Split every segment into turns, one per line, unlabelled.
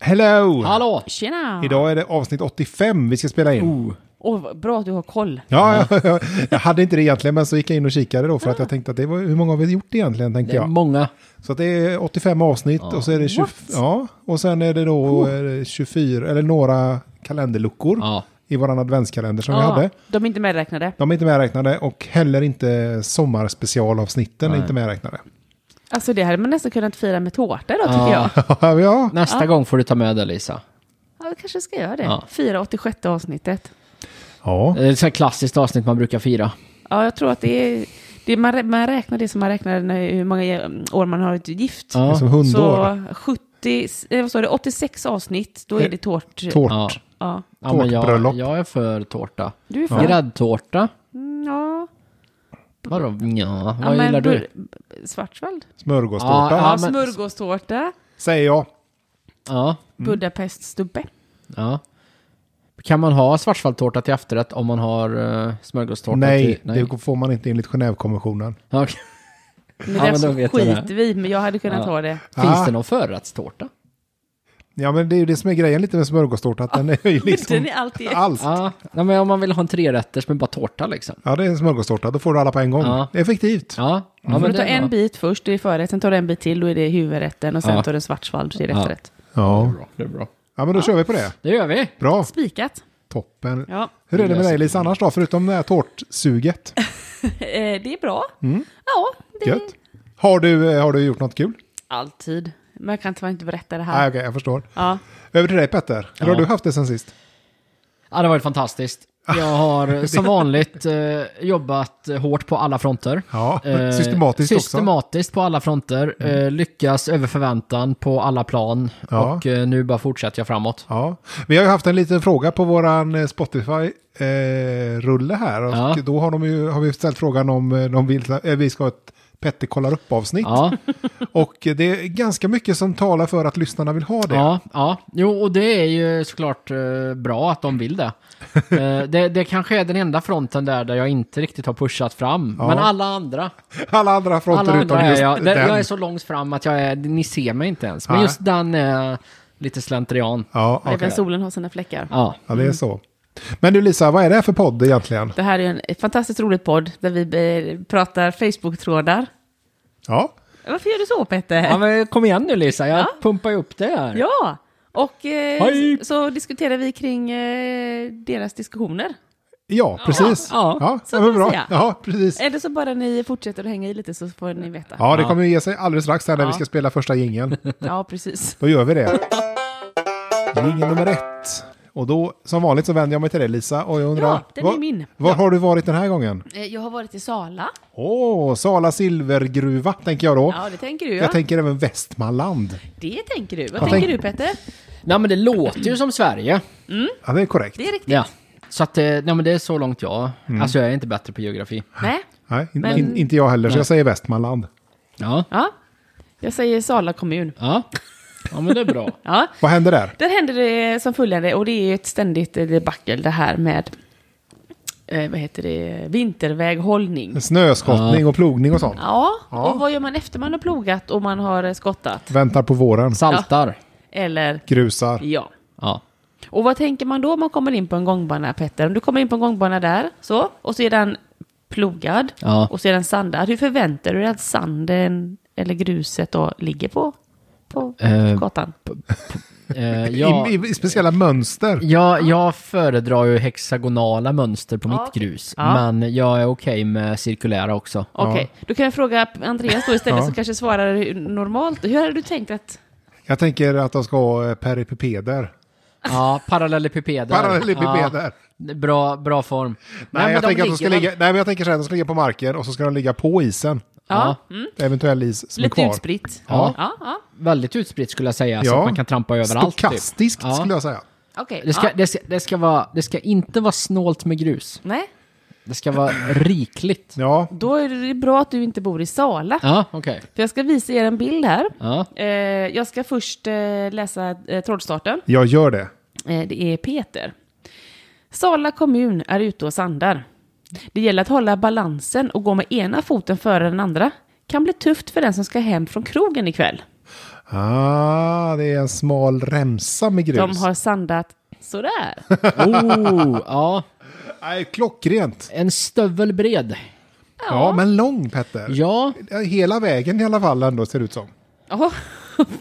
Hello!
Hallå!
Tjena!
Idag är det avsnitt 85 vi ska spela in.
Oh.
Åh, vad bra att du har koll.
Ja, jag, jag hade inte det egentligen, men så gick jag in och kikade då för
Ah.
att jag tänkte att det var, hur många har vi gjort egentligen,
Det
tänkte
är
jag.
många.
Så att det är 85 avsnitt och så är det 20,
What?
ja, och sen är det då eh, 24, eller några kalenderluckor
Ja. Ah.
i våran adventskalender som vi
Ja,
hade.
De är inte medräknade.
De är inte medräknade och heller inte sommarspecialavsnitten är
Nej.
inte medräknade.
Alltså det hade man nästan kunnat fira med tårta då tycker
Ja.
jag.
ja,
Nästa gång får du ta med det Lisa.
Ja, vi kanske ska göra det.
Ja.
Fira 86 avsnittet.
ja.
Det är ett sånt här klassiskt avsnitt man brukar fira.
Ja, jag tror att det är... Det är man, rä- man räknar det som man räknar när, hur många mm, år man har varit gift.
Det är
Ja.
som hundår.
Så 70, eh, vad sa du, 86 avsnitt, då
Eh,
är det tårt...
Tårt.
Ja.
Ja.
Ja, men
Tårtbröllop.
jag, jag är för tårta.
Du är för... Ja.
Gräddtårta?
Mm, ja.
Vadå? Ja,
Ja,
vad
men
gillar du?
bur- Svartsvall?
Smörgåstårta,
Ja,
Ja,
men- Mm.
smörgåstårta,
säger jag.
Ja,
Budapeststubbe.
ja. Kan man ha svartsvalltårta till efterrätt om man har uh, smörgåstårta?
Nej,
till, nej.
det får man inte enligt Genèvekonventionen.
Ja, okej.
Men
Ja,
det
men då
där
vet jag
skiter vi i, men jag hade kunnat
Ja.
ha det.
Finns
Ah.
det någon förrättstårta?
Ja, men det är ju det som är grejen lite med smörgåstårta, att den är ju
Den
liksom
är alltid...
allt.
Ja, nej, men om man vill ha en trerätters med bara tårta liksom.
Ja, det är en smörgåstårta, då får du alla på en gång.
Ja.
Det är effektivt.
Ja, ja
Får
men
du ta
det är
en
bra.
bit först, det är förrätt, sen tar du en bit till, då är det huvudrätten och sen
Ja.
tar du en svartsvall, det är
Ja.
efterrätt.
Det är
Ja,
bra, det är bra.
ja men då kör vi på det.
Det gör vi.
Bra,
Spikat.
toppen.
Ja.
Hur är det med dig Lisa annars då, förutom det här tårtsuget?
Eh, det är bra.
Mm.
Ja, det är
Gött. Har du, eh, har du gjort något kul?
alltid. Men jag kan tyvärr inte berätta det här.
Nej, okej, jag förstår.
Ja.
Över till dig Petter, hur har du haft det sen
Eh,
sist?
Ja, det har varit fantastiskt. Jag har eh, som vanligt eh, jobbat eh, hårt på alla fronter.
Ja,
Eh,
systematiskt också. Mm.
Systematiskt på alla fronter. Eh, lyckas över förväntan på alla plan.
Ja.
Och eh, nu bara fortsätter jag framåt.
Ja, vi har ju haft en liten fråga på våran eh, Spotify-rulle här. Och
Ja.
då har, de ju, har vi ställt frågan om eh, de vill, eh, vi ska ha ett Petter kollar upp-avsnitt.
Ja,
Och det är ganska mycket som talar för att lyssnarna vill ha det.
ja, ja. Jo, och det är ju såklart eh, bra att de vill det. Eh, det. Det kanske är den enda fronten där, där jag inte riktigt har pushat fram.
Ja.
Men alla andra.
Alla andra fronter
Alla
utom
andra är
just
jag.
den.
Där, jag är så långt fram att jag är, ni ser mig inte ens. Men
Nej.
just den är lite slentrian.
Ja, okej.
Även solen har sina fläckar.
Ja.
ja, det är så. Men du Lisa, vad är det här för podd egentligen?
Det här är en ett fantastiskt rolig podd där vi eh, pratar Facebook-trådar.
Ja,
Varför gör du så Petter?
Ja, men kom igen nu Lisa, jag pumpar ju upp det här.
Ja, och eh,
Hej!
så, så diskuterar vi kring eh, deras diskussioner.
ja precis.
Ja,
ja,
så
ja, men
kan man
bra.
säga.
ja precis.
Eller så bara ni fortsätter att hänga i lite så får ni veta. Ja,
Ja, det kommer ju ge sig alldeles strax här när vi
Ja.
ska spela första jingeln.
precis.
Då gör vi det. Jingel nummer ett. Och då, som vanligt så vänder jag mig till dig Lisa och jag undrar,
Ja, den är
vad-
min.
var har du varit den här gången?
Eh, Jag har varit i Sala.
Åh, Sala silvergruva tänker jag då.
Ja, det tänker du ja.
Jag tänker även Västmanland.
det tänker du. Vad
Ja.
tänker
Tänk-
du Petter?
Nej men det låter ju som Sverige.
Ja, det är korrekt.
Det är riktigt.
Ja. Så att, eh, nej men det är så långt jag. Alltså jag är inte bättre på geografi.
Nej.
Nej, in,
Men-
in, inte jag heller, så jag säger Västmanland.
Ja.
Ja. Jag säger Sala kommun.
Ja. Ja men det är bra.
Ja.
Vad händer där?
Där händer det som följande och det är ju ett ständigt eh, debacle det här med eh, vad heter det? vinterväghållning.
Snöskottning och plogning och sånt.
Ja.
Ja.
och vad gör man efter man har plogat och man har eh, skottat?
Väntar på våren.
Saltar.
Eller,
Grusar.
ja.
Ja.
Och vad tänker man då om man kommer in på en gångbana, Petter? Om du kommer in på en gångbana där, så, och så är den plogad,
Ja.
och så är den sandad. Hur förväntar du dig att sanden eller gruset då ligger på, på
Eh,
gatan?
Eh, jag,
I, i, I speciella mönster.
jag, jag föredrar ju hexagonala mönster på
Ja.
mitt grus.
Ja.
Men jag är okej med cirkulära också.
Okej, då kan jag fråga Andreas då istället,
Ja.
som kanske svarar hur- normalt. Hur hade du tänkt att...
Jag tänker att de ska ha eh, peripipeder.
Ja, parallellepipeder.
Parallellipipeder.
Ja, bra, bra form. Nej,
Nej,
men
jag
de
tänker att de ska
ligger-
ligga, nej, men jag tänker så här, de ska ligga på marken och så ska de ligga på isen.
Ja.
Ja, mm,
Eventuell is som är
lite
kvar.
utspritt.
Ja.
ja, ja.
Väldigt utspritt skulle jag säga, så
Ja.
att man kan trampa överallt.
Stokastiskt
typ. Ja.
skulle jag säga.
okej.
Det ska,
ja.
det, ska, det, ska vara, det ska inte vara snålt med grus.
Nej,
Det ska vara rikligt.
Ja,
då är det bra att du inte bor i Sala.
Ja, okej.
För jag ska visa er en bild här.
Ja.
Eh, jag ska först eh, läsa eh, trådstarten.
jag gör det.
Eh, Det är Peter. Sala kommun är ute och sandar. Det gäller att hålla balansen och gå med ena foten före den andra. kan bli tufft för den som ska hem från krogen ikväll.
Ah, det är en smal remsa med grus.
De har sandat sådär.
Oh, ja.
Nej, klockrent.
En stövel bred.
Ja. men lång Petter.
Ja,
Hela vägen i alla fall ändå ser det ut som.
Jaha.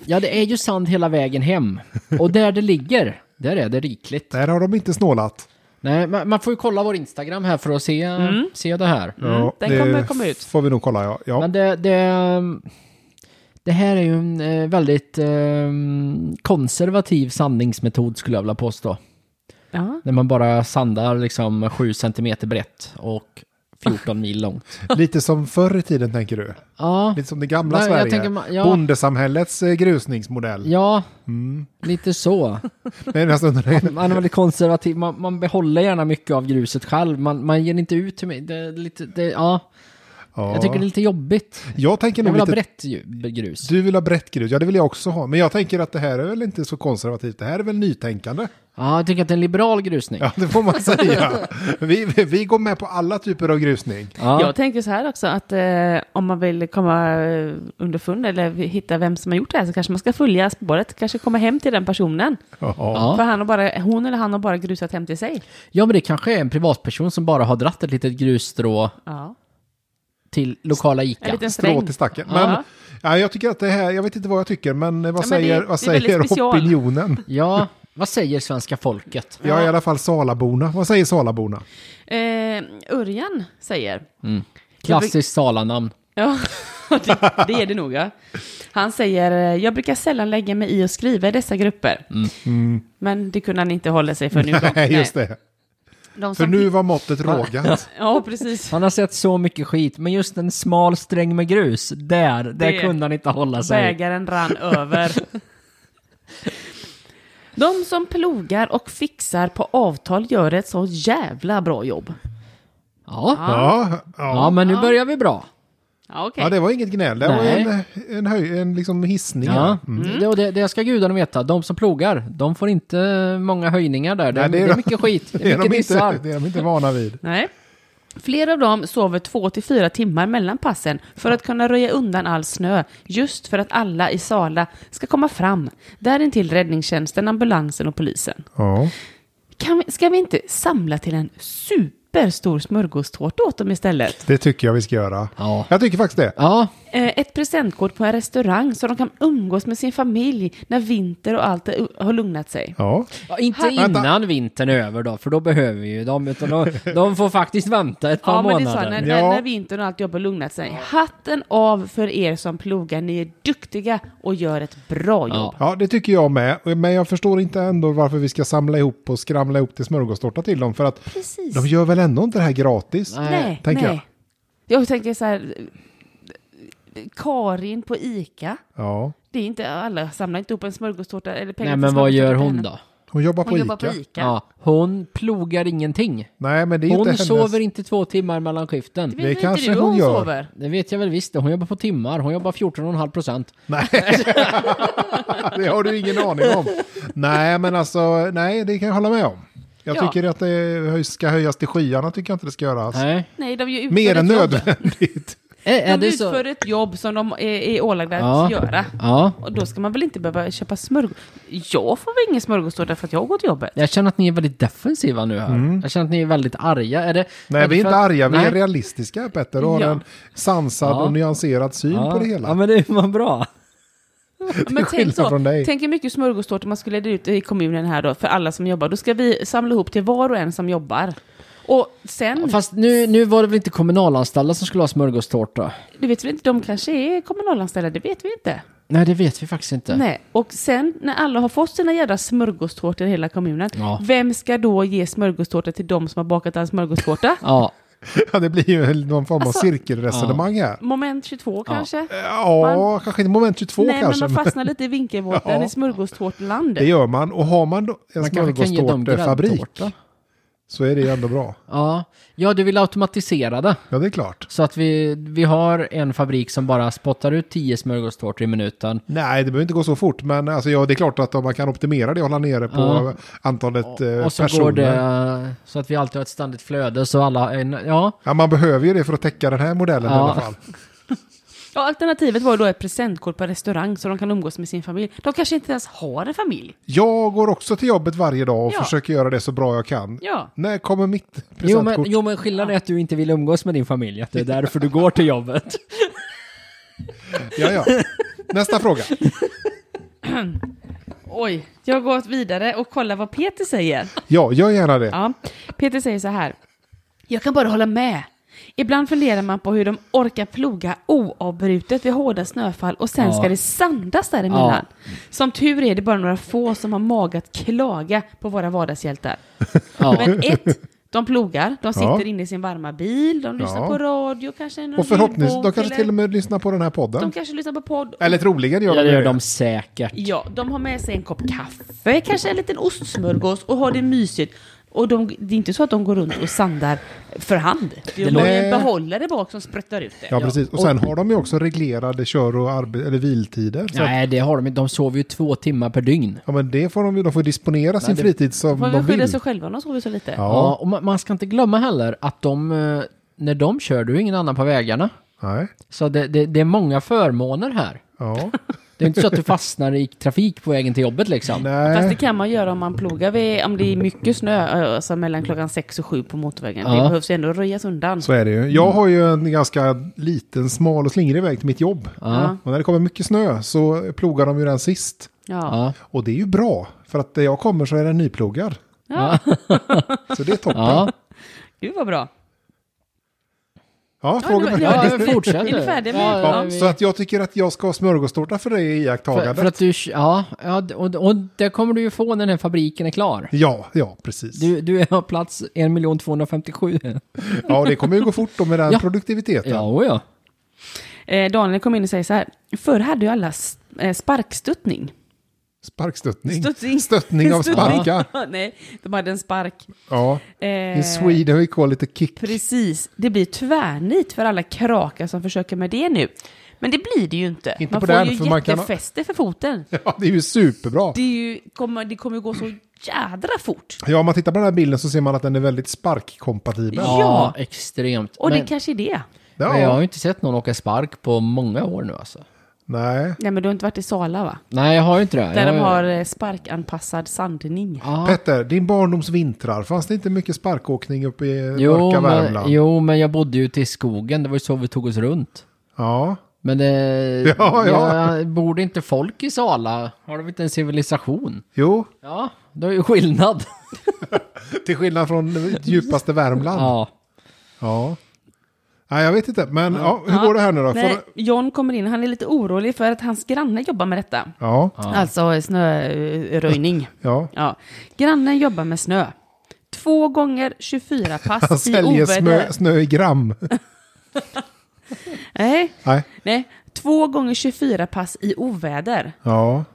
ja, det är ju sand hela vägen hem. Och där det ligger, där är det rikligt.
Där har de inte snålat.
Nej, man, man får ju kolla vår Instagram här för att se, se det här.
ja,
den
det
kommer komma ut.
får vi nog kolla ja. ja.
Men det, det, det här är ju en eh, väldigt eh, konservativ sandningsmetod skulle jag vilja påstå.
Ja.
När man bara sandar liksom 7 cm brett och 14 mil långt.
Lite som förr i tiden tänker du.
Ja,
Lite som det gamla
Nej, jag
Sverige.
tänker ma- ja.
Bondesamhällets eh, grusningsmodell.
ja lite så.
Men alltså,
Man är väldigt konservativ, man, man behåller gärna mycket av gruset själv. Man, man ger inte ut till mig. Det, är lite, det, ja.
ja.
Jag tycker det är lite jobbigt.
jag tänker
Jag
nog
vill ha
lite...
brett ju- grus.
Du vill ha brett grus, ja det vill jag också ha. Men jag tänker att det här är väl inte så konservativt, det här är väl nytänkande.
Ja, jag tycker att det är en liberal grusning.
Ja, det får man säga. vi, vi- vi går med på alla typer av grusning.
Ja.
Jag tänker så här också att eh, om man vill komma eh, underfund eller hitta vem som har gjort det här så kanske man ska följa spåret, kanske komma hem till den personen.
Ja.
Ja.
För han har bara, hon eller han har bara grusat hem till sig.
ja, men det kanske är en privatperson som bara har dratt ett litet grusstrå
Ja.
till lokala
En
Ica.
liten
Strå
sträng.
till stacken.
Ja.
Men ja, jag tycker att det här, jag vet inte vad jag tycker, men eh, vad
Ja, men det-
säger,
det är
vad säger
väldigt special.
opinionen?
Ja, vad säger svenska folket?
Ja. i alla fall Salaborna. Vad säger Salaborna?
Eh, Örjan säger,
Klassiskt salanamn.
ja, det, det är det nog ja. Han säger, eh, jag brukar sällan lägga mig i och skriva i dessa grupper. Men det kunde han inte hålla sig för nu. då.
Mm. Nej, just det.
De
För
som-
nu var måttet rågat.
Ja, precis.
Han har sett så mycket skit, men just en smal sträng med grus, där, där
Det-
kunde han inte hålla sig.
Bägaren rann över. De som plogar och fixar på avtal gör ett så jävla bra jobb.
Ja.
Ja,
ja,
ja.
men nu börjar vi bra.
Ja, okej.
ja, det var inget gnäll. Det var
Nej.
en, en, höj, en liksom hissning.
Ja,
Ja. Mm.
det, och det, det ska gudarna veta. De som plogar, de får inte många höjningar där. Det,
Nej, det
det,
är
är,
de-
mycket skit, det
Det
är
är, de
mycket
inte,
nissar.
det är de inte vana vid.
Nej. Flera av dem sover två till fyra timmar mellan passen för att kunna röja undan all snö, just för att alla i Sala ska komma fram, därintill räddningstjänsten, ambulansen och polisen.
Ja.
Kan vi, ska vi inte samla till en superstor smörgåstårta åt dem istället?
Det tycker jag vi ska göra.
Ja.
Jag tycker faktiskt det.
Ja,
Eh, Ett presentkort på en restaurang så de kan umgås med sin familj när vinter och allt är- har lugnat sig.
Ja.
Ja, inte
Här-
innan
Vänta.
vintern är över då, för då behöver vi ju dem. Utan de, de får faktiskt vänta ett par
Ja, men det är så,
månader.
när,
Ja.
när, när vintern och allt jobb har lugnat sig. Hatten av för er som plogar, ni är duktiga och gör ett bra jobb.
Ja, det tycker jag med. Men jag förstår inte ändå varför vi ska samla ihop och skramla ihop till smörgåstårta till dem. För att
Precis.
de gör väl ändå inte det här gratis?
nej,
tänker
nej. Jag. tänker så här, eh, Karin på ICA,
Ja.
det är inte alla samlar inte ihop en smörgåstårta eller pengar
Nej,
till
men vad
smörgåstårta
gör
till
hon
henne.
då?
Hon jobbar
Hon
på
jobbar
Ica.
på ICA.
Ja, hon plogar ingenting.
Nej, men det är
Hon
inte hennes.
sover inte två timmar mellan skiften.
Det, vet
kanske
inte du,
hon
hon
gör.
sover.
Det vet jag väl visst. Hon jobbar på timmar. Hon jobbar 14,5 procent.
Nej. det har du ingen aning om. Nej, men alltså, nej, det kan jag hålla med om. Jag
Ja.
tycker att det höj- ska höjas till skyarna, tycker jag inte det ska göras.
Nej.
Nej, de gör
Mer
utför
än
ett jobb.
nödvändigt.
Är, är
De
det
utför
så?
ett jobb som de är, är ålagda
Ja.
att göra.
Ja.
Och då ska man väl inte behöva köpa smörgås? Jag får väl ingen smörgåstårta för att jag går till jobbet?
Jag känner att ni är väldigt defensiva nu här. Jag känner att ni är väldigt arga. Är det,
Mm. Nej, vi är
det för
inte
att-
arga, vi
Nej.
är realistiska, Petter, och har
Ja.
en sansad
Ja.
och nyanserad syn
ja.
på det hela.
Ja, men det var bra.
Men
skillnad
tänk så,
från dig.
tänk hur mycket smörgåstårta man skulle dela ut i kommunen här då, för alla som jobbar. Då ska vi samla ihop till var och en som jobbar. Och sen,
Fast nu, nu var det väl inte kommunalanställda som skulle ha smörgåstårta?
du vet väl inte, de kanske är kommunalanställda, det vet vi inte.
Nej, det vet vi faktiskt inte.
Nej. Och sen när alla har fått sina jädra smörgåstårtor i hela kommunen,
Ja.
vem ska då ge smörgåstårta till de som har bakat all smörgåstårta?
Ja,
Ja, det blir ju en- någon form av
Alltså,
cirkelresonemang här.
Moment 22 kanske?
Ja, kanske inte moment 22
Nej,
kanske.
men
men
man fastnar lite i vinkelvåten
Ja.
i smörgåstårtland.
Det gör man. Och har man då en
man kanske kan ge dem
smörgåstårtefabrik
gräddtårta.
så är det ju ändå bra.
Ja. ja, du vill automatisera det.
Ja, det är klart.
Så att vi, vi har en fabrik som bara spottar ut 10 smörgåstårtor i minuten.
Nej, det behöver inte gå så fort, men alltså, ja, det är klart att om man kan optimera det och hålla nere på
Ja.
antalet eh,
Och så
personer.
går det så att vi alltid har ett ständigt flöde så alla... är- Ja,
Ja, man behöver ju det för att täcka den här modellen i
Ja.
alla fall.
Ja, alternativet var ju då ett presentkort på restaurang så de kan umgås med sin familj. De kanske inte ens har en familj.
Jag går också till jobbet varje dag och
Ja.
försöker göra det så bra jag kan.
Ja.
När kommer mitt
Jo men,
presentkort?
jo men skillnaden är att du inte vill umgås med din familj, att det är därför du går till jobbet.
Ja, ja. Nästa fråga.
Oj, jag går vidare och kollar vad Peter säger.
Ja, gör gärna det.
Ja, Peter säger så här. Jag kan bara hålla med. Ibland funderar man på hur de orkar ploga oavbrutet vid hårda snöfall och sen
Ja.
ska det sandas däremellan. Som tur är det bara några få som har mag att klaga på våra vardagshjältar.
Ja.
Men ett, de plogar, de sitter
Ja.
inne i sin varma bil, de lyssnar
Ja.
på radio, kanske en
Och förhoppningsvis,
ljudbok
de kanske
Mm, eller-
till och med lyssnar på den här podden.
De kanske lyssnar på podd.
Eller troligen gör de
Ja, det
ju
gör
det.
de säkert.
Ja, de har med sig en kopp kaffe, kanske en liten ostsmörgås och har det mysigt. Och de, det är inte så att de går runt och sandar för hand. Det är bara
Nej.
en behållare bak som sprättar ut det.
Ja, precis. Och sen har de ju också reglerade kör och arbe- eller viltider. Så att,
Nej, det har de inte. De sover ju två timmar per dygn.
ja, men det får de ju. De får disponera sin
det-
fritid som
Får
de
väl skylla
vill.
sig själva om de sover så lite.
Ja.
Ja, och man, man ska inte glömma heller att de, eh, när de kör, du är ingen annan på vägarna.
Nej.
Så det, det, det är många förmåner här.
Ja.
Det är inte så att du fastnar i trafik på vägen till jobbet liksom.
Fast det
Nej.
kan man göra om man plogar vid, om det är mycket snö, alltså mellan klockan sex och sju på motorvägen.
Ja.
Det behövs ju ändå röjas undan.
Så är det ju. Jag har ju en ganska liten, smal och slingrig väg till mitt jobb.
Ja.
Och när det kommer mycket snö så plogar de ju den sist.
Ja.
Ja.
Och det är ju bra. För att där jag kommer så är den nyplogad.
Ja.
Så det är toppen. Ja,
Ja.
Gud vad bra.
fråga
det var-
mig.
ja,
ja, fortsätt
Är ni färdiga med-
Ja,
vi-
så att jag tycker att jag ska ha smörgåstårta för dig i
för,
iakttagandet.
för att du, ja, ja och, och det kommer du ju få när den här fabriken är klar.
Ja, ja, precis.
Du, du har plats 1 257
Ja, det kommer ju gå fort då med den
Ja.
produktiviteten.
Ja, och ja.
Eh, Daniel kom in och säger så här. Förr hade ju alla s- eh, sparkstuttning.
Sparkstuttning.
Stuttning.
Stöttning av
Stuttning.
sparkar.
Nej, de hade en spark.
Ja.
Eh,
In Sweden we call it a kick.
Precis, det blir tvärnit för alla krakar som försöker med det nu. Men det blir det ju inte.
Inte
man
på
får
den,
ju
för man kan ha-
jättefäste för foten.
Ja, det är ju superbra.
Det, är ju, kommer, det kommer ju gå så jädra fort.
Ja, om man tittar på den här bilden så ser man att den är väldigt sparkkompatibel.
Ja.
Ja, extremt.
Och
men,
det kanske är det.
Ja.
men jag har ju inte sett någon åka spark på många år nu alltså.
Nej.
Nej men du har inte varit i Sala va?
Nej, jag har ju inte det.
Där
jag,
de har eh, sparkanpassad sandning.
Ja.
Petter, din barndoms vintrar, fanns det inte mycket sparkåkning uppe i
Jo
mörka
men,
Värmland?
jo, men jag bodde ju ute i skogen. Det var ju så vi tog oss runt.
Ja.
Men det...
Ja, ja.
jag- Borde inte folk i Sala? Har de inte en civilisation?
Jo,
Ja, det är ju skillnad.
till skillnad från djupaste Värmland. Ja.
Ja.
Nej, jag vet inte, men ja. hur går det här nu då?
Nej,
Får...
John kommer in, han är lite orolig för att hans granne jobbar med detta.
Ja,
Alltså eh, snöröjning.
ja.
Ja. Grannen jobbar med snö. Två gånger 24
Han
pass i
säljer snö,
oväder.
snö i gram.
Nej,
Nej.
Nej, två gånger 24 pass i oväder.
Ja.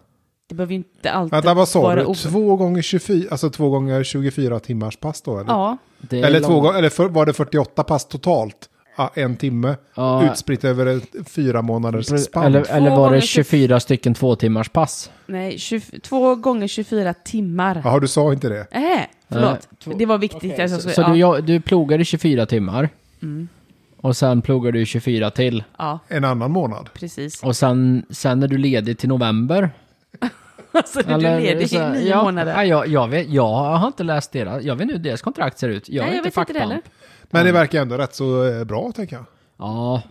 Det behöver ju inte alltid
Vänta, vad sa
vara
du?
o-
Två gånger 24, alltså två gånger 24 timmars pass då? Eller,
Ja,
Det är
eller,
lång-
två, gånger- eller för, var det 48 pass totalt? Ja, en timme
Ja.
utspritt över ett fyra månaders spann.
Eller, eller var
Två gånger
det
tjugo-
24 stycken två timmars pass?
nej, 20, två gånger 24 timmar.
Jaha, du sa inte det?
Nej, förlåt.
två-
det var viktigt. att jag
Så,
skulle-
så
ja, Mm.
du, jag, du plogade 24 timmar. Och sen plogar du 24 till.
ja,
En annan månad?
precis.
Och sen, sen är du ledig till november.
Alltså, du
Eller-
ledig
så-
i nio
ja,
månader.
Ja, jag, jag, vet, jag har inte läst deras. Jag vet inte hur deras kontrakt ser ut. Jag
Nej,
är
jag
inte
vet inte det
fackpamp.
heller.
Men det verkar ändå rätt så eh, bra, tänker jag.
Ja.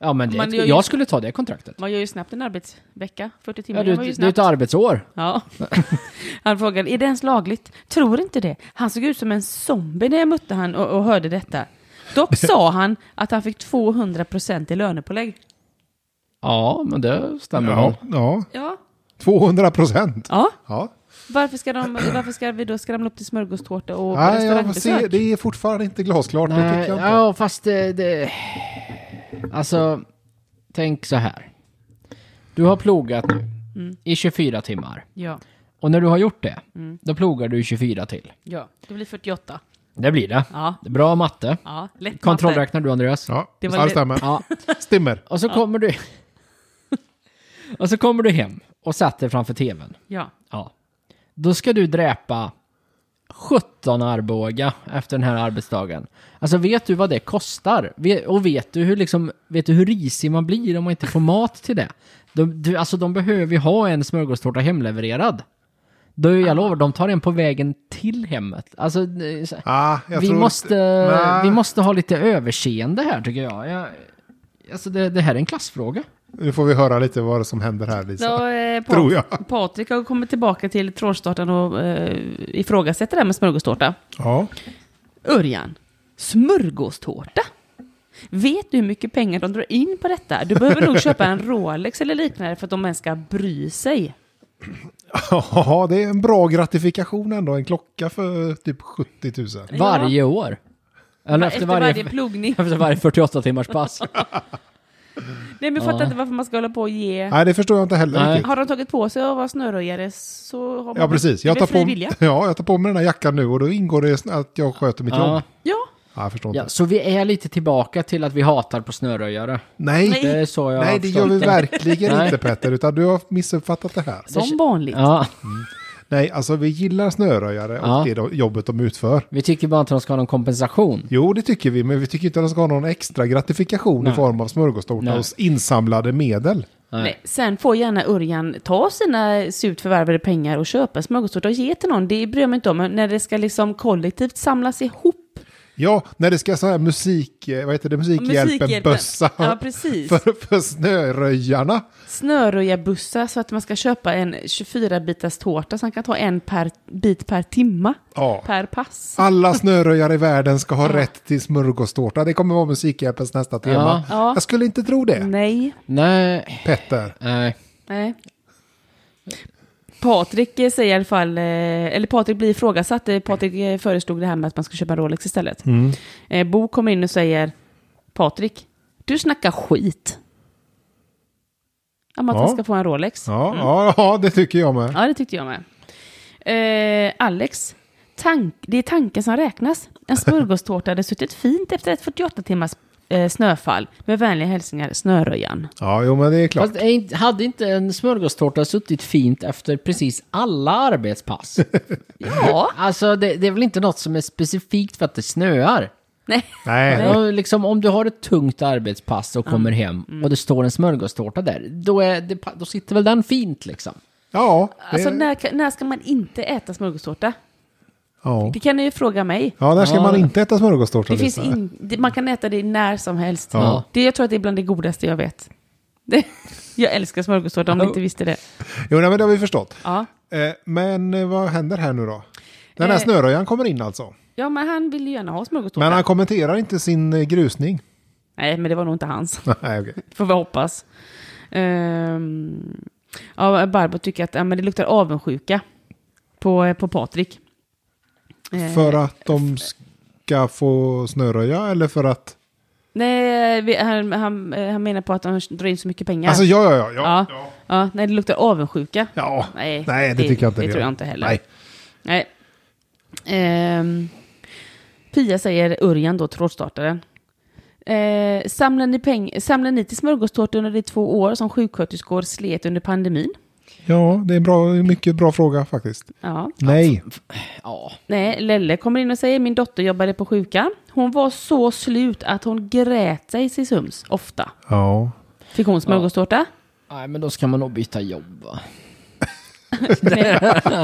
Ja, men det,
Man gör ju-
jag skulle ta det kontraktet.
Man gör ju snabbt en arbetsvecka. 40 timmar
Ja,
det
du,
var ju
det är
snabbt.
ett arbetsår.
Ja. Han frågade, är det ens lagligt? Tror inte det. Han såg ut som en zombie när jag mötte han och, och hörde detta. Dock sa han att han fick 200% i lönepålägg.
Ja, men det stämmer väl.
Ja, ja.
Ja.
200 procent.
Ja.
Ja.
Varför ska, de, varför ska vi då skramla upp till smörgåstårta och
Nej, jag får
restaurangbesök?
se, det är fortfarande inte glasklart. det
Nej,
tycker jag inte.
ja, fast det, det... Alltså, tänk så här. Du har plogat nu i 24 timmar.
Ja,
Och när du har gjort det, då plogar du i 24 till.
ja, det blir 48.
Det blir det.
Ja,
Bra matte.
ja, lätt matte.
Kontrollräknar du, Andreas?
Ja,
Det
det,
var
ja, det
lite-
stämmer.
Ja.
Stämmer.
Och så kommer du... och så kommer du hem och sätter framför tvn.
Ja,
Ja. Då ska du dräpa 17 Arboga efter den här arbetsdagen. Alltså vet du vad det kostar? Ve- Och vet du hur, liksom, vet du hur risig man blir om man inte får mat till det? De, du, alltså de behöver ju ha en smörgåstårta hemlevererad. Då, jag lovar, de tar en på vägen till hemmet. Alltså, det- så-
Ah, jag
vi,
tror
måste,
Nej.
vi måste ha lite överseende här tycker jag. jag alltså det, det här är en klassfråga.
Nu får vi höra lite vad som händer här Lisa.
Så, eh, Pat-
Tror jag.
Patrik har kommit tillbaka till trådstarten och eh, ifrågasätter det här med smörgåstårta.
Ja.
Örjan, smörgåstårta? Vet du hur mycket pengar de drar in på detta? Du behöver nog köpa en Rolex eller liknande för att de ens ska bry sig.
ja, det är en bra gratifikation ändå. En klocka för typ 70 000.
Ja.
Varje år. Eller efter, varje,
plogning.
efter varje 48 timmars pass.
Nej, men jag fattar
Ja.
inte varför man ska hålla på och ge...
Nej, det förstår jag inte heller
Nej.
riktigt.
Har de tagit på sig att vara snöröjare så har man...
Ja, precis. Jag
Det är
tar,
fri
på,
vilja.
ja, jag tar på mig den här jackan nu och då ingår det att jag sköter mitt
Ja.
jobb.
Ja,
Ja, jag förstår
Ja,
inte.
så vi är lite tillbaka till att vi hatar på snöröjare.
Nej,
Nej.
Det är så jag har
nej det
förstått
gör vi verkligen
Nej.
inte Petter, utan du har missuppfattat det här.
som vanligt.
Ja,
Nej, alltså vi gillar snöröjare och
Ja.
det då- jobbet de utför.
vi tycker bara inte de ska ha någon kompensation.
Jo, det tycker vi, men vi tycker inte att de ska ha någon extra gratifikation i
Nej.
form av smörgåstårta
Nej.
och insamlade medel.
Nej, sen får gärna Örjan ta sina surt förvärvade pengar och köpa en smörgåstårta och ge till någon. Det bryr jag mig inte om. Men när det ska liksom kollektivt samlas ihop.
Ja, när det ska så här musik, eh, vad heter det, musikhjälpen-bössa
Ja, precis.
för, för snöröjarna.
Snöröjarbussar så att man ska köpa en 24-bitars tårta så han kan ta en per, bit per timma.
Ja.
Per pass.
Alla snöröjare i världen ska ha rätt till smörgåstårta. Det kommer vara Musikhjälpens nästa tema.
Ja.
Jag skulle inte tro det,
Nej.
Nej,
Petter.
nej.
Nej. Patrik eh, säger i alla fall, eh, eller Patrik blir ifrågasatt, Eh, Patrik eh, föreslog det här med att man ska köpa en Rolex istället. Eh, Bo kommer in och säger, Patrik, du snackar skit. Om att
Ja.
han ska få en Rolex. Ja.
Ja, ja, ja, det tycker jag med.
det tyckte jag med. Eh, Alex, tank, det är tanken som räknas. En smörgåstårta hade suttit fint efter ett 48 timmars eh, snöfall. Med vänliga hälsningar, Snöröjan.
Ja, jo, men det är
Alltså,
klart.
Fast är inte- hade inte en smörgåstårta suttit fint efter precis alla arbetspass?
Ja.
Alltså det, det är väl inte något som är specifikt för att det snöar?
Nej.
Nej,
Ja, liksom, om du har ett tungt arbetspass och kommer
Mm.
hem och det står en smörgåstårta där, då, är det, då sitter väl den fint liksom?
ja. Det,
Alltså när, ka- när ska man inte äta smörgåstårta?
ja.
Det kan ni ju fråga mig.
ja, där ska
Ja.
man inte äta smörgåstårta.
Det finns
Lisa.
in, det, man kan äta det när som helst.
Ja.
Det, jag tror att det är bland det godaste jag vet. Det, jag älskar smörgåstårta om ni inte visste det.
Jo, nej, men det har vi förstått.
Ja.
Eh, Men eh, vad händer här nu då? Den här
Eh.
snöröjan kommer in alltså.
ja, men han vill ju gärna ha smörgåstårta.
Men han kommenterar inte sin eh, grusning.
Nej, men det var nog inte hans.
Nej, okej.
Får vi hoppas. Ehm, ja, Barbro tycker att ja, men det luktar avundsjuka på, på Patrik. Eh,
För att de ska få snöröja eller för att...
Nej, vi, han, han, eh, han menar på att han drar in så mycket pengar.
Alltså ja, ja, ja.
Ja.
Ja, ja.
Ja, nej, det luktar avundsjuka.
ja.
Nej,
Nej, det tycker jag inte
Det
det
tror
gör.
jag inte heller.
Nej.
Nej. Ehm, Pia säger Örjan då, trådstartaren. Eh, samlar, ni peng- samlar ni till smörgåstårta under de två år som sjuksköterskor slet under pandemin?
ja, det är en bra, mycket bra fråga faktiskt.
Ja.
Nej.
Ja.
Nej, Lelle kommer in och säger min dotter jobbade på sjukan. Hon var så slut att hon grät sig till sums ofta.
Ja.
Fick hon smörgåstårta?
Nej, men då ska man nog byta jobb va?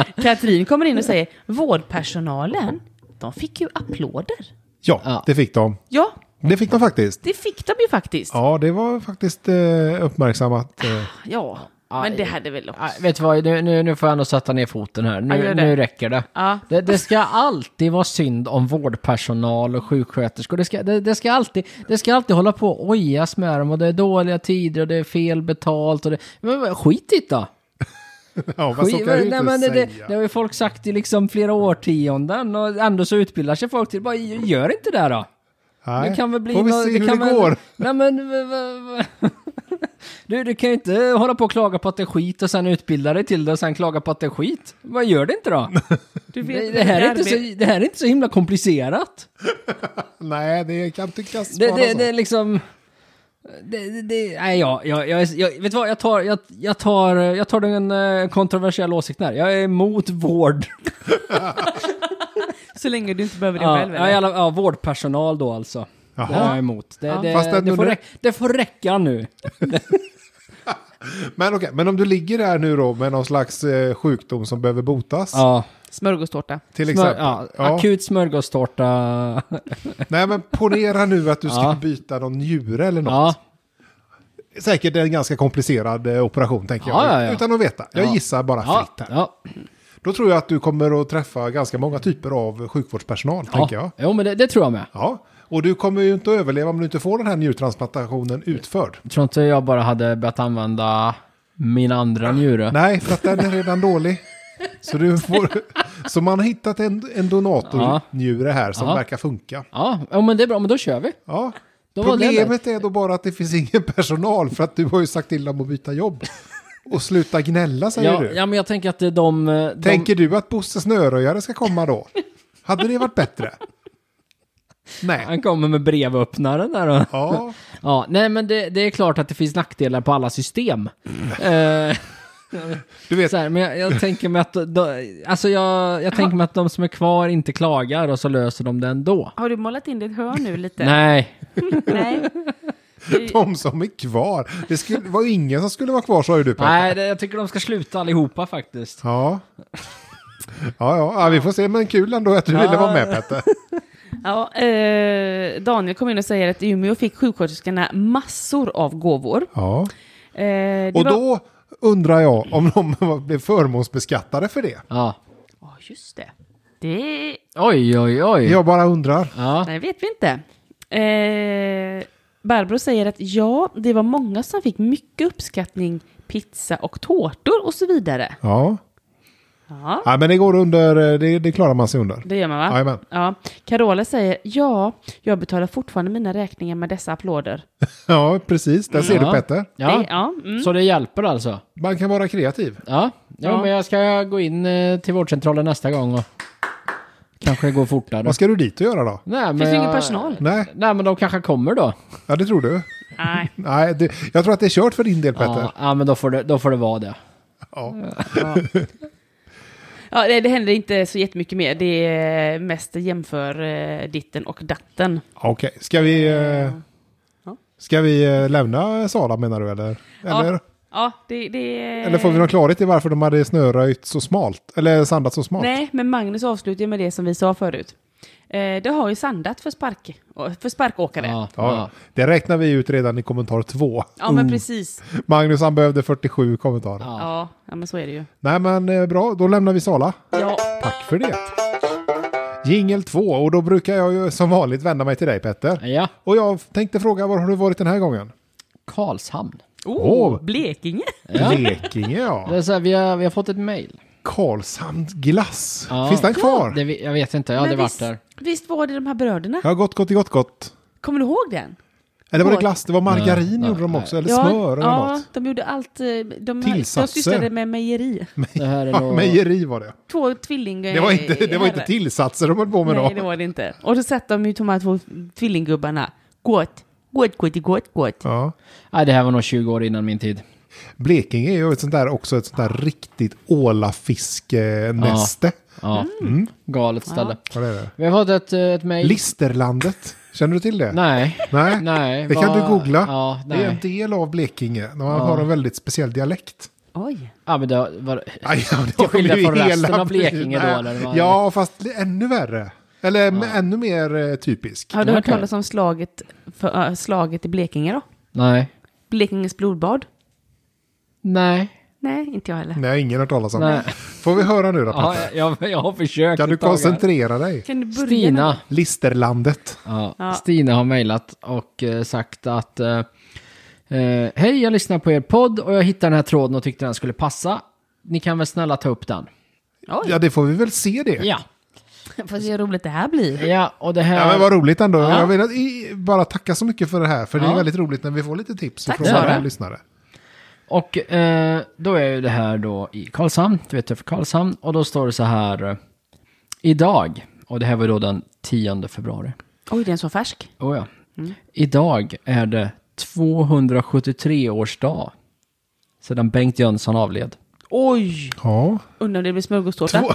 Katrin kommer in och säger vårdpersonalen, de fick ju applåder.
Ja,
Ja.
det fick de.
Ja,
Det fick de faktiskt.
det fick de ju faktiskt.
Ja, det var faktiskt eh, uppmärksammat. Eh.
Ja, men det hade väl också...
Nej, vet du vad, nu, nu, nu får jag ändå sätta ner foten här.
Ja,
Nu,
gör det.
nu räcker det.
Ja.
det. Det ska alltid vara synd om vårdpersonal och sjuksköterskor. Det ska, det, det ska, alltid, det ska alltid hålla på och ojas med dem och det är dåliga tider och det är fel betalt och det... Men vad- skit i det då!
Ja, fast så
Skit-
kan jag ju
men
inte
det, det, det
säga.
har ju folk sagt i liksom flera årtionden och ändå så utbildar sig folk till bara gör inte det då.
Nej.
Det kan väl bli
Får vi
nå-
se hur
kan
det
väl-
går.
Nej men... v- v- v- Du, du kan ju inte hålla på och klaga på att det är skit och sen utbilda dig till det och sen klaga på att det är skit. Vad gör det inte då?
Du
Det, det, här är inte så, det här är inte så himla komplicerat.
Nej, det kan tyckas
Det,
vara
det,
så.
det är liksom... Det, det, det, nej, jag, jag, jag, är- jag, vet du vad, jag tar, jag, jag tar, jag tar den eh, kontroversiella åsikten här. Jag är emot vård.
Så länge du inte behöver det
Ja,
själv.
ja, i alla, ja, vårdpersonal då alltså.
Jaha.
Det är jag emot. Det, det,
Fast
det,
ändå
får
nu-
räcka, det får räcka nu.
Men okej, men om du ligger där nu då med någon slags eh, sjukdom som behöver botas.
Ja,
Smörgåstårta.
Till
smör,
exempel.
ja,
Liksom. Ja.
Akut smörgåstårta.
Nej men ponera nu att du ska
Ja.
byta någon njure eller något.
Ja,
Säkert en ganska komplicerad eh, operation tänker
Ja,
jag.
ja, ja.
Utan att veta. Jag
Ja.
gissar bara
ja,
fritt här.
ja,
Då tror jag att du kommer att träffa ganska många typer av sjukvårdspersonal tänker jag.
ja. Jo, men det, det tror jag med.
Ja. Och du kommer ju inte att överleva om du inte får den här njurtransplantationen utförd.
Jag tror inte jag bara hade börjat använda min andra njure.
Ah, Nej, för att den är redan dålig. Så, du får, så man har hittat en, en donatornjure här som
Ja.
verkar funka.
Ja, ja, men det är bra. Men då kör vi.
Ja.
Då var det
Problemet är då bara att det finns ingen personal för att du har ju sagt till dem att byta jobb. Och sluta gnälla säger
Ja,
du.
ja, men jag tänker att det är de... eh, de
Tänker du att Bosse Snöröjare ska komma då? Hade det varit bättre? Nej.
Han kommer med brevöppnaren där och...
Ja,
Ja, nej men det, det är klart att det finns nackdelar på alla system. Eh,
du vet.
så här, men jag, jag tänker mig att, de, alltså jag, jag tänker mig att de som är kvar inte klagar och så löser de det ändå.
Har du målat in ditt hörn nu lite?
Nej,
Nej.
De som är kvar. Det skulle, var ingen som skulle vara kvar sa ju du Peter.
nej det, jag tycker de ska sluta allihopa faktiskt.
Ja. Ja, ja, ja, vi får se. Men kul ändå att du ville vara med Petter.
Ja, eh, Daniel kom in och säger att i Umeå fick sjuksköterskorna massor av gåvor.
Ja.
Eh, det
Och
var-
då undrar jag om de blev förmånsbeskattade för det.
Ja.
Ja, just det. Det
Oj, oj, oj.
Jag bara undrar.
Ja.
Nej, vet vi inte. Eh, Barbro säger att ja, det var många som fick mycket uppskattning, pizza och tårtor och så vidare.
Ja.
Ja,
ja, men det går under. eh, Det, det klarar man sig under.
det gör man va?
Jajamän.
Ja. Carola säger ja, jag betalar fortfarande mina räkningar med dessa applåder.
Ja, precis. Där ser
Ja.
du Petter.
Ja.
Det, ja, mm.
Så det hjälper alltså?
Man kan vara kreativ.
Ja. ja,
Ja.
men jag ska gå in eh, till vårdcentralen nästa gång och kanske det går fortare.
Vad ska du dit och göra då?
Nej, men
Finns det ingen
jag-
personal?
Nej,
Nej, men de kanske kommer då.
ja, det tror du.
Nej.
Nej, det, jag tror att det är kört för din del Petter.
Ja, ja, men då får, det, då får det vara det.
Ja.
Ja, det, det händer inte så jättemycket mer. Det är mest jämför eh, ditten och datten.
Okej, ska vi... eh,
Ja.
Ska vi eh, lämna Sala menar du eller? Eller,
Ja, ja det, det...
eller får vi någon klarhet i varför de hade snöröjt så smalt? Eller sandat så smalt?
Nej, men Magnus avslutar ju med det som vi sa förut. Eh, det har ju sandat för, spark, för sparkåkare. Ja,
Ja,
Ja,
ja.
Det räknar vi ut redan i kommentar två.
men precis.
Magnus han behövde 47 kommentarer.
Ja.
Ja. ja, men så är det ju.
Nej men eh, bra, då lämnar vi Sala.
Ja,
Tack för det. Jingel 2 och då brukar jag ju som vanligt vända mig till dig Petter.
ja.
Och jag tänkte fråga var har du varit den här gången?
Karlshamn.
oh,
Åh.
Blekinge.
Blekinge
Det
ja.
är så här, vi, har, vi har fått ett mejl.
Karlshamn glass.
Ja.
Finns den kvar?
Det vi- Jag vet inte, jag har
Men
aldrig varit
visst,
där.
visst var det de här bröderna?
Ja, gott, gott, gott, gott.
Kommer du ihåg den?
Eller var det
Gott.
glass? Det var margarin
Nej,
gjorde de
nej.
också, eller smör eller
ja,
något.
de gjorde allt. eh, De, de
Tillsatser.
sysslade med mejeri.
Det här är
Ja,
nog...
mejeri var det.
Två tvilling... eh,
Det var inte, det var inte
herrar.
tillsatser de höll på med
Nej,
då.
det var det inte. Och så satt de ju de här två tvillinggubbarna. Gott, gott, gott, gott, gott.
Ja.
Nej, det här var nog 20 år innan min tid.
Blekinge är ju ett sånt där också ett sånt där riktigt ålafiskenäste.
Ja.
Mm.
Mm.
Galet ställe.
Vad är det?
Vi har fått ett, eh, ett mejl.
Listerlandet. Känner du till det?
Nej.
Nej.
Nej.
Det kan
vad-
du googla.
Ja,
det är en
nej.
del av Blekinge. De har en väldigt speciell dialekt.
Oj.
Ja, men det var...
Aj, ja, det
Till skillnad
ju
från resten
hela
av Blekinge då,
Nej.
eller vad?
Ja, fast ännu värre. Eller m- ännu mer eh, typisk.
Har du hört
Okej.
talas om slaget, för, äh, slaget i Blekinge då?
Nej.
Blekinges blodbad?
Nej.
Nej, inte jag heller.
Nej, ingen har hört talas om.
Nej.
Får vi höra nu då?
Ja,
Petter?
jag, jag har försökt
kan du
ett tag här.
koncentrera dig?
Kan du börja?
Stina.
Listerlandet.
Ja.
Ja.
Stina har mejlat och eh, sagt att eh, eh, Hej, jag lyssnar på er podd och jag hittade den här tråden och tyckte den skulle passa. Ni kan väl snälla ta upp den?
Oj,
Ja, det får vi väl se det.
Ja,
får se hur roligt det här blir.
ja och det
Ja,
här...
men vad roligt ändå.
Ja.
Jag vill att, i, bara tacka så mycket för det här, för det är
Ja.
väldigt roligt när vi får lite tips
Tack,
från
Sara.
våra lyssnare.
och eh, då är ju det här då i Karlshamn, du vet det är för Karlshamn, och då står det så här eh, Idag, och det här var ju då den 10 februari.
Oj, den är så färsk.
Oh, ja.
Mm.
Idag är det 273-årsdag sedan Bengt Jönsson avled.
Oj,
Ja.
undrar om det blir smörgåstårta.
Två-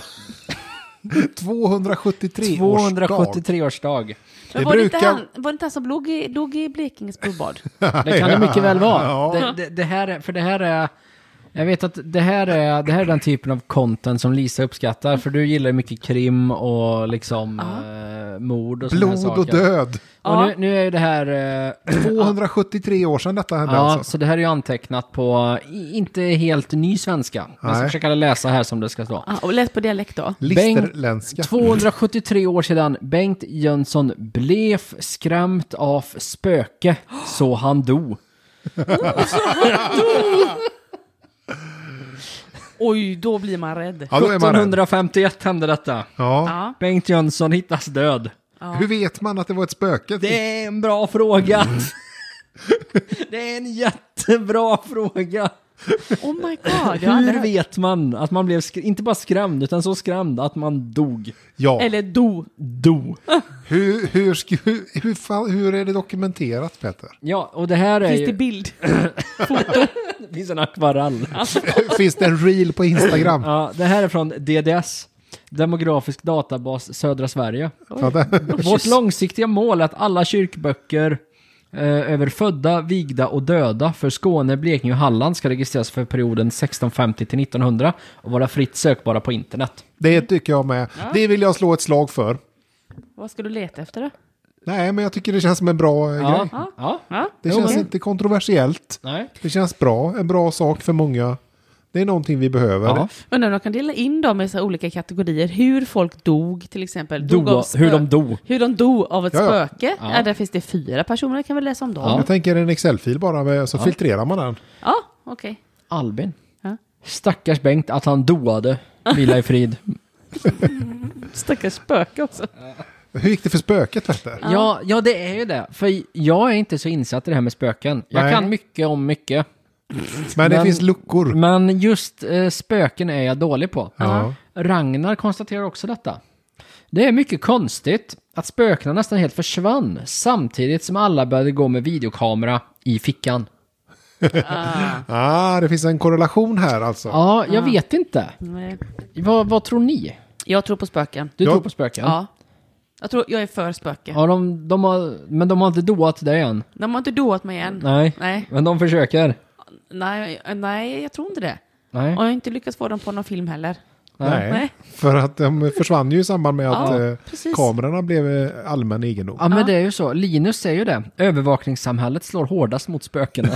273 årsdag.
273-årsdag.
Det
Men var, det inte
brukar-
han, var det inte han som låg i, dog i Blekinges blodbad?
Det kan det mycket väl vara.
Ja.
Det, det, det här är, för det här är... Jag vet att det här, är, det här är den typen av content som Lisa uppskattar, för du gillar ju mycket krim och liksom eh, mord och såna här
Blod
saker.
och död.
Och nu, nu är ju det här... Eh,
273 år sedan detta hände
ja,
alltså.
så det här är ju antecknat på, i- inte helt ny svenska. Jag ska
Nej.
försöka läsa här som det ska stå.
Ja, och lät på dialekt då.
Listerländska.
273 år sedan Bengt Jönsson blev skrämt av spöke, så han dog.
Oj, då blir man rädd.
Ja, då är man rädd.
1751 hände detta.
Ja.
Ja.
Bengt Jönsson hittas död.
Hur vet man att det var ett spöke?
Det är en bra fråga.
Mm.
Det är en jättebra fråga.
Oh my god. jag har aldrig
Hur
hört.
vet man att man blev, skr- inte bara skrämd, utan så skrämd att man dog?
Ja.
Eller do.
Do.
Hur, hur, sku- hur, fan- hur är det dokumenterat Peter?
Ja, och det här är
Finns det
ju...
bild?
Det finns en akvarell.
Finns det en reel på Instagram?
Ja, det här är från DDS, Demografisk databas Södra Sverige.
Ja, det-
Vårt långsiktiga mål är att alla kyrkböcker eh, över födda, vigda och döda för Skåne, Blekinge och Halland ska registreras för perioden 1650 till 1900 och vara fritt sökbara på internet.
Det tycker jag med. Det vill jag slå ett slag för.
Vad ska du leta efter då?
Nej, men jag tycker det känns som en bra eh,
Ja,
grej.
ja.
Ja?
Det
Jo,
känns
men-
inte kontroversiellt.
Nej.
Det känns bra. En bra sak för många. Det är någonting vi behöver.
Ja.
Undrar om de kan dela in dem i så här olika kategorier. Hur folk dog till exempel.
Do,
Dog av spö-
hur de dog.
Hur de dog av ett
Ja, ja.
spöke. Ja. där finns det fyra personer, kan vi läsa om dem?
Ja.
Ja,
Jag tänker en Excel-fil bara, med, så filtrerar man den.
okej.
Albin.
Ja.
Stackars Bengt att han doade. Vila i frid.
Stackars spöke också.
Hur gick det för spöket Petter?
ja, ja, det är ju det. För jag är inte så insatt i det här med spöken. Jag
Nej.
kan mycket om mycket.
Men det
Men-
finns luckor.
Men just eh, spöken är jag dålig på.
Ja.
Ragnar konstaterar också detta. Det är mycket konstigt att spökena nästan helt försvann samtidigt som alla började gå med videokamera i fickan.
Ah, det finns en korrelation här alltså.
Ja, jag vet inte.
Nej.
Vad, vad tror ni?
Jag tror på spöken.
Du
Jag-
tror på spöken?
Ja. Jag, tror, jag är för spöke.
ja de, de har, men de har inte doat dig än?
De har inte doat mig än.
Nej.
Nej.
Men de försöker?
Nej, nej, jag tror inte det.
Nej.
Och jag har inte lyckats få dem på någon film heller.
Nej.
Nej.
för att de försvann ju i samband med att eh,
precis.
kamerorna blev eh, allmän egendom.
Ja, men det är ju så. Linus säger ju det. Övervakningssamhället slår hårdast mot spökena.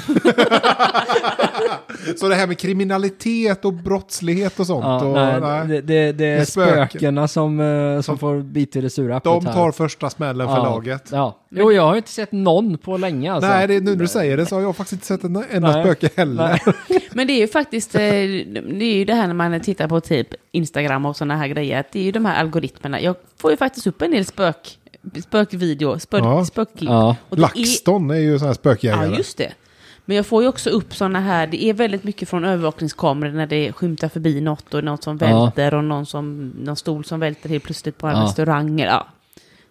Så det här med kriminalitet och brottslighet och sånt.
Ja,
och,
nej,
nej.
Det, det, det är
är
spökena
spöken.
som, eh, som får bita i det sura äpplet
De
här.
tar första smällen för
ja,
laget.
Ja. Jo, jag har ju inte sett någon på länge alltså.
Nej, det, är nu när du säger det så har jag faktiskt inte sett en enda
Nej.
spöke heller.
Nej.
Men det är ju faktiskt, eh, det är ju det här när man tittar på typ Instagram och sådana här grejer, att det är ju de här algoritmerna. Jag får ju faktiskt upp en del spök, spökvideo, spök,
Ja.
spökklipp.
Ja.
Och det är,
LaxTon är ju sån här
ja,
spökjägare.
just det. Men jag får ju också upp sådana här, det är väldigt mycket från övervakningskameror när det skymtar förbi något och något som
Ja.
välter och någon, som, någon stol som välter helt plötsligt på en
Ja.
restaurang. eller- Ja.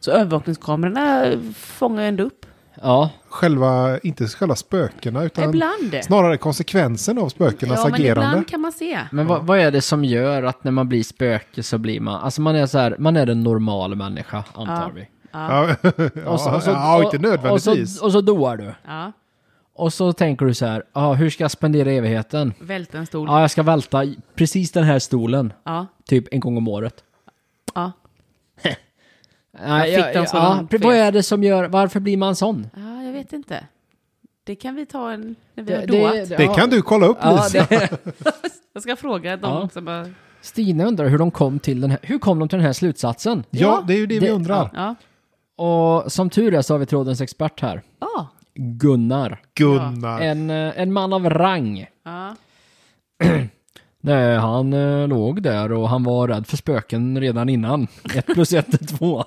Så övervakningskamerorna fångar ju ändå upp.
Ja.
Själva, inte själva spökena utan
Ibland.
snarare konsekvensen av spökenas
Ja, men
agerande.
ibland kan man se.
Men vad, vad är det som gör att när man blir spöke så blir man, alltså man är så här, man är en normal människa antar vi.
Ja, ja, ja, inte nödvändigtvis.
Och så, och så doar du.
Ja,
Och så tänker du så här, ja hur ska jag spendera evigheten?
välta en stol.
Ja, jag ska välta i precis den här stolen,
Ja,
typ en gång om året.
ja.
Nej,
Jag fick en sån
ja,
fet.
Vad är det som gör, varför blir man sån?
Ja, jag vet inte. Det kan vi ta en, när vi har doat.
det,
det kan du kolla upp
Ja,
Lisa.
det,
Jag ska fråga de
Ja.
som har...
Stina undrar hur de kom till den här, hur kom de till den här slutsatsen?
Ja, det är ju det, vi
Det-
undrar.
Ja.
Och som tur är så har vi trådens expert här.
Ja.
Gunnar.
Gunnar.
En, eh, en man av rang.
ja.
Nej, han eh, låg där och han var rädd för spöken redan innan. Ett plus ett är två.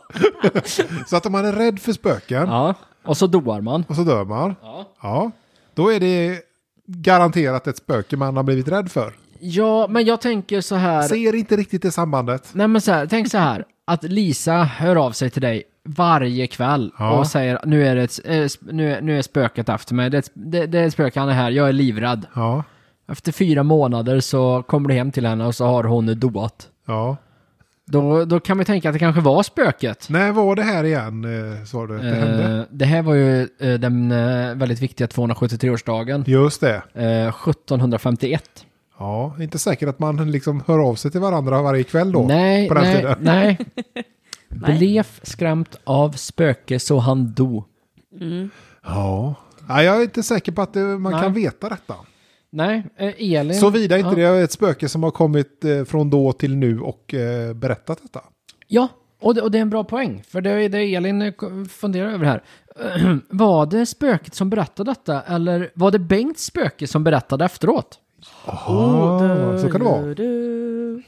Så att om man är rädd för spöken
Ja. Och så doar man.
och så dör man.
Ja.
Ja, då är det garanterat ett spöke man har blivit rädd för.
ja, men jag tänker så här.
Ser inte riktigt det sambandet.
Nej, men så här, tänk så här. Att Lisa hör av sig till dig varje kväll
Ja.
och säger nu är, det ett, eh, sp- nu, är- nu är spöket efter mig. Det, är ett- det, det är ett spöke, han är här, jag är livrädd.
Ja,
Efter fyra månader så kommer du hem till henne och så har hon doat.
ja.
Då, då kan man ju tänka att det kanske var spöket.
När var det här igen, eh, sa du? att Det hände?
Eh, det här var ju eh, den eh, väldigt viktiga 273-årsdagen.
Just det.
Eh, 1751.
Ja, inte säkert att man liksom hör av sig till varandra varje kväll då.
nej,
på den
nej,
tiden.
nej.
Nej.
Blev skrämt av spöke så han do.
Ja. Nej, jag är inte säker på att eh, man
Nej.
kan veta detta.
Nej, eh, Elin.
Såvida inte
ja.
det är ett spöke som har kommit eh, från då till nu och eh, berättat detta.
Ja, och det, och det är en bra poäng. För det är det Elin eh, funderar över här. Var det spöket som berättade detta eller var det Bengts spöke som berättade efteråt?
Ah, så kan det vara.
Du.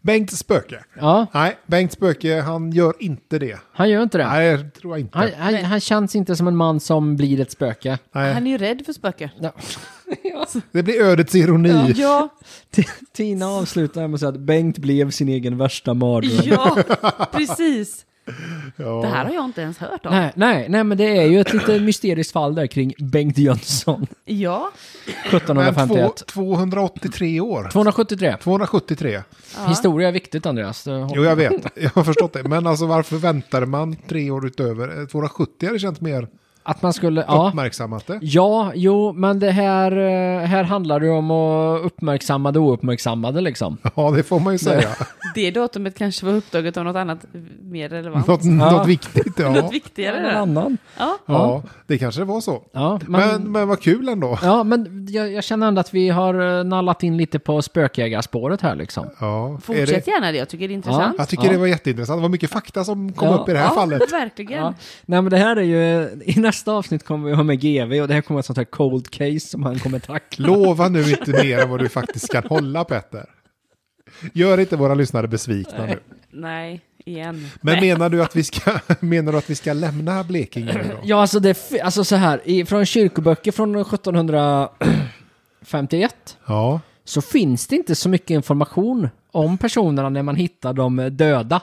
Bengt spöke.
Ja,
Nej, Bengt spöke, han gör inte det.
han gör inte det.
Nej, det tror jag inte.
Han, han, han känns inte som en man som blir ett spöke.
Nej.
Eh. Han är ju rädd för spöken.
Det blir ödets ironi.
Ja,
Tina avslutar med att säga att Bengt blev sin egen värsta mardröm.
ja, precis.
Ja.
Det här har jag inte ens hört om.
Nej, nej, nej, men det är ju ett lite mysteriskt fall där kring Bengt Jönsson.
Ja,
Men två,
1751.
283 år.
273.
273.
Historia är viktigt, Andreas.
Jo, jag vet. Jag har förstått det. Men alltså varför väntade man tre år utöver? Eh, 270 hade känts mer
Att man skulle... Ja.
uppmärksammat det.
Ja, jo, men det här, eh, här handlar det ju om att uppmärksamma det ouppmärksammade liksom.
Ja, det får man ju säga.
det datumet kanske var upptaget av något annat eh, mer relevant.
Något,
Ja.
något viktigt, ja.
Något viktigare.
Någon
där.
annan.
Ja.
Ja, det kanske var så.
Ja, men,
Men, men vad kul ändå.
ja, men jag, jag känner ändå att vi har eh, nallat in lite på spåret här liksom.
Ja, är
Fortsätt
det,
gärna det, jag tycker det är intressant.
jag tycker
Ja.
det var jätteintressant. Det var mycket fakta som kom
Ja.
upp i det här fallet.
verkligen.
Ja. Nej men det här är ju, i nästa avsnitt kommer vi ha med GV och det här kommer vara ett sånt här cold case som han kommer tackla.
Lova nu inte mer än vad du faktiskt kan hålla, Petter. Gör inte våra lyssnare besvikna nu.
Nej, igen.
Men menar du att vi ska, menar du att vi ska lämna Blekinge nu då?
Ja alltså det, fi- alltså så här, i, från kyrkoböcker från 1751
Ja.
så finns det inte så mycket information om personerna när man hittar dem döda.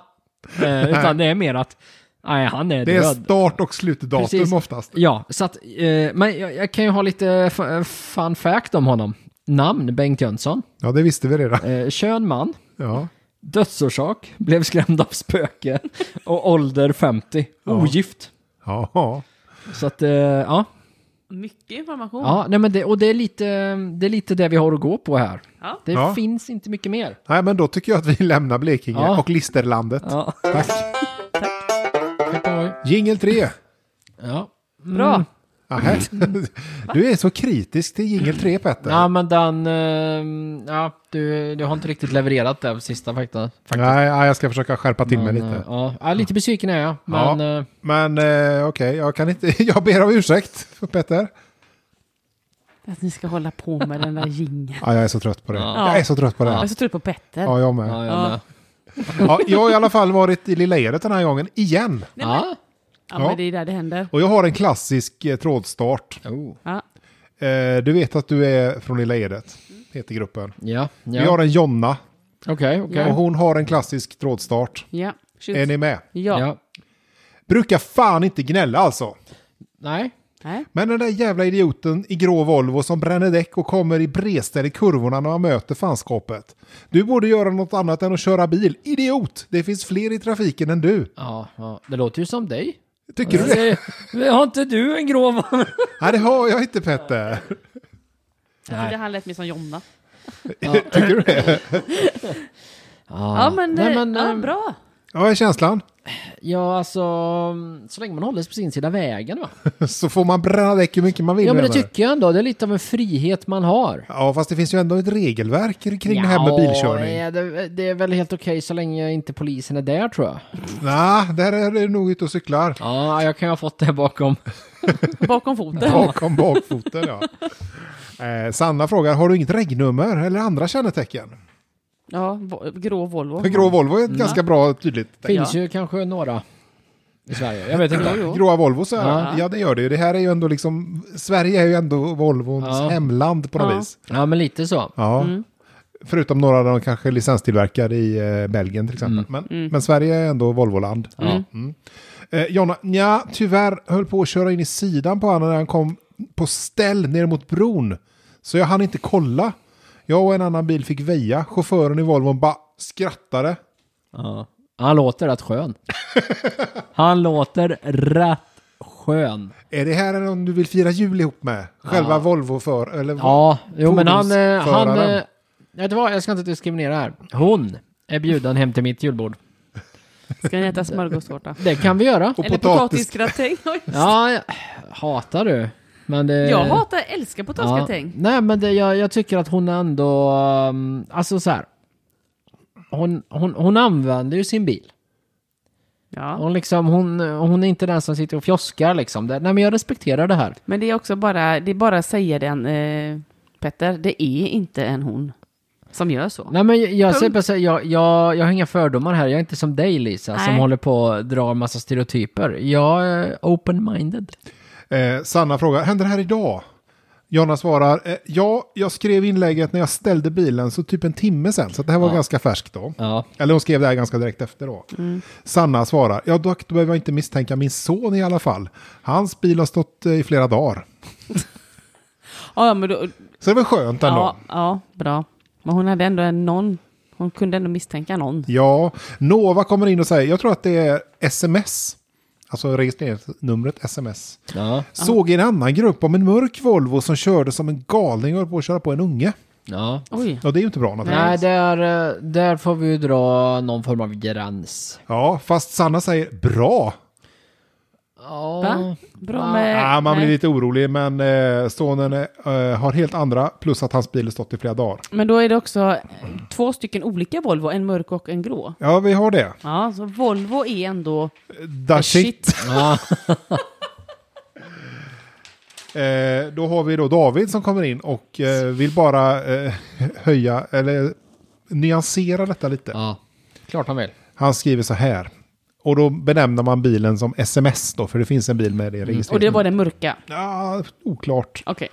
Eh, utan det är mer att, nej han är
Det är
död.
start och slutdatum
Precis.
oftast.
Ja, så att, eh, men jag, jag kan ju ha lite f- fun fact om honom. Namn, Bengt Jönsson.
Ja, det visste vi redan.
Eh, kön, man.
Ja.
Dödsorsak, blev skrämd av spöke. Och ålder 50, ogift.
Ja.
Så att, eh, ja.
Mycket information.
ja nej men det, och det är, lite, det är lite det vi har att gå på här.
Ja.
Det
Ja.
finns inte mycket mer.
Nej, men då tycker jag att vi lämnar Blekinge
Ja.
och Listerlandet.
Ja.
Tack. Jingel 3.
ja. Mm.
Bra.
Aha. Du är så kritisk till jingel 3, Petter.
Ja, men den... eh, ja, du, du har inte riktigt levererat det sista fakta, faktiskt.
Nej, nej, jag ska försöka skärpa till mig
Men,
lite.
eh, Ja, ja, lite besviken är jag. Men
Ja.
eh,
Men eh, okej, jag kan inte. Jag ber om ursäkt, Petter.
Att ni ska hålla på med den där jingeln.
Ja, jag är så trött på det.
Ja.
Jag är så trött på det.
Jag är
Ja,
så trött på Petter.
ja jag med.
ja,
Ja.
jag
Ja.
med.
jag har i alla fall varit i Lilla Edet den här gången, igen.
Ja.
Ja,
Ja.
men det är där det händer.
Och jag har en klassisk eh, trådstart.
Oh.
Ja.
Eh, du vet att du är från Lilla Edet, heter gruppen.
Ja,
Vi har
ja.
en Jonna
Okej, okej.
och hon har en klassisk trådstart.
Ja. Shoot.
Är ni med?
ja.
Ja.
Brukar fan inte gnälla alltså.
Nej.
Nej.
Men den där jävla idioten i grå Volvo som bränner däck och kommer i bredställ i kurvorna när man möter fanskapet. Du borde göra något annat än att köra bil. Idiot! Det finns fler i trafiken än du.
Ja, ja, det låter ju som dig.
Tycker du det?
Eh,
det? Har inte du en grå van?
Nej, det har jag inte Petter.
Jag trodde han lät mer som Jonna.
Tycker du det?
Ja, men,
Nej,
eh,
men,
ja,
eh,
bra.
Ja, Vad är känslan?
Ja, alltså, så länge man håller sig på sin sida vägen va?
Så får man bränna däck hur mycket man vill.
Ja, men det
menar du?
tycker jag ändå. Det är lite av en frihet man har.
ja, fast det finns ju ändå ett regelverk kring det här med
Ja,
bilkörning.
eh, Det, det är väl helt okej så länge inte polisen är där tror jag.
Nej, där är du nog ute och cyklar.
Ja, jag kan ju ha fått det bakom.
Bakom foten.
Bakom bakfoten, ja. Eh, Sanna frågar, har du inget regnummer eller andra kännetecken?
Ja, vo- grå Volvo.
För grå Volvo är
Mm.
ett ganska bra tydligt tecken.
Finns ju kanske några i Sverige. Jag vet inte.
Jo.
Gråa Volvo så ja.
Ja.
ja det gör det ju. Det här är ju ändå liksom, Sverige är ju ändå Volvons
Ja.
hemland på något
Ja.
vis.
Ja, men lite så.
Ja. Förutom några av de kanske licenstillverkade i eh, Belgien till exempel. Men, men Sverige är ändå Volvoland.
Mm.
Mm.
Ja.
Eh, Jonna, nja, tyvärr höll på att köra in i sidan på honom när han kom på ställ ner mot bron. Så jag hann inte kolla. Jag och en annan bil fick väja. Chauffören i Volvon bara skrattade.
Ja. Han låter rätt skön. Han låter rätt skön.
Är det här någon du vill fira jul ihop med? Själva Volvo för, eller
Ja, jo men han... eh, han
Fordonsföraren.
eh, vet du vad, jag ska inte diskriminera här. Hon är bjuden hem till mitt julbord.
Ska ni äta smörgåstårta?
Det kan vi göra.
och
Eller
potatis.
potatisgratäng? Oj.
Ja, eh, jag- hatar du. Men det...
Jag hatar, älskar
Ja,
potatisgratäng.
nej, men det, jag, jag tycker att hon ändå... um, Alltså så här. Hon, hon, hon använder ju sin bil.
Ja.
Hon, liksom, hon, hon är inte den som sitter och fjoskar liksom. Det, nej men jag respekterar det här.
Men det är också bara, det är bara att säga den, eh, Petter, det är inte en hon som gör så.
Nej men jag, jag, säger
Punkt.
bara så här, jag, jag, jag har inga fördomar här. Jag är inte som dig Lisa som
Nej.
håller på och drar massa stereotyper. Jag är open-minded.
Eh, Sanna frågar, händer det här idag? Jonna svarar, eh, ja, jag skrev inlägget när jag ställde bilen så typ en timme sen, så att det här var ganska färskt då.
Ja. Mm.
Eller hon skrev det här ganska direkt efter då. Sanna svarar, ja dock då behöver jag inte misstänka min son i alla fall. Hans bil har stått eh, i flera dagar.
Ja, men då,
Så det var skönt ändå.
ja,
Ja.
ja, bra. Men hon hade ändå en någon, hon kunde ändå misstänka någon.
Nova kommer in och säger, jag tror att det är sms. Alltså registreringsnumret sms.
Ja.
Såg i en annan grupp om en mörk Volvo som körde som en galning och höll på att köra på en unge.
ja.
Oj.
Ja, det är ju inte bra naturligtvis.
Nej, där, eh, där får vi ju dra någon form av gräns.
Ja, fast Sanna säger bra.
Ja.
Va? Bra med...
Ah, man blir
Eh, nej.
lite orolig, men eh, sonen eh, har helt andra, plus att hans bil har stått i flera dagar.
Men då är det också eh, två stycken olika Volvo, en mörk och en grå.
Ja, vi har det.
Ja, så Volvo är ändå...
Da shit.
Shit.
Ja.
Eh, då har vi då David som kommer in och eh, vill bara eh, höja, eller nyansera detta lite.
ja. Klart han vill.
Han skriver så här. Och då benämner man bilen som sms då, för det finns en bil med
Mm.
det registret.
Och det var den mörka.
Ja, oklart.
Okej.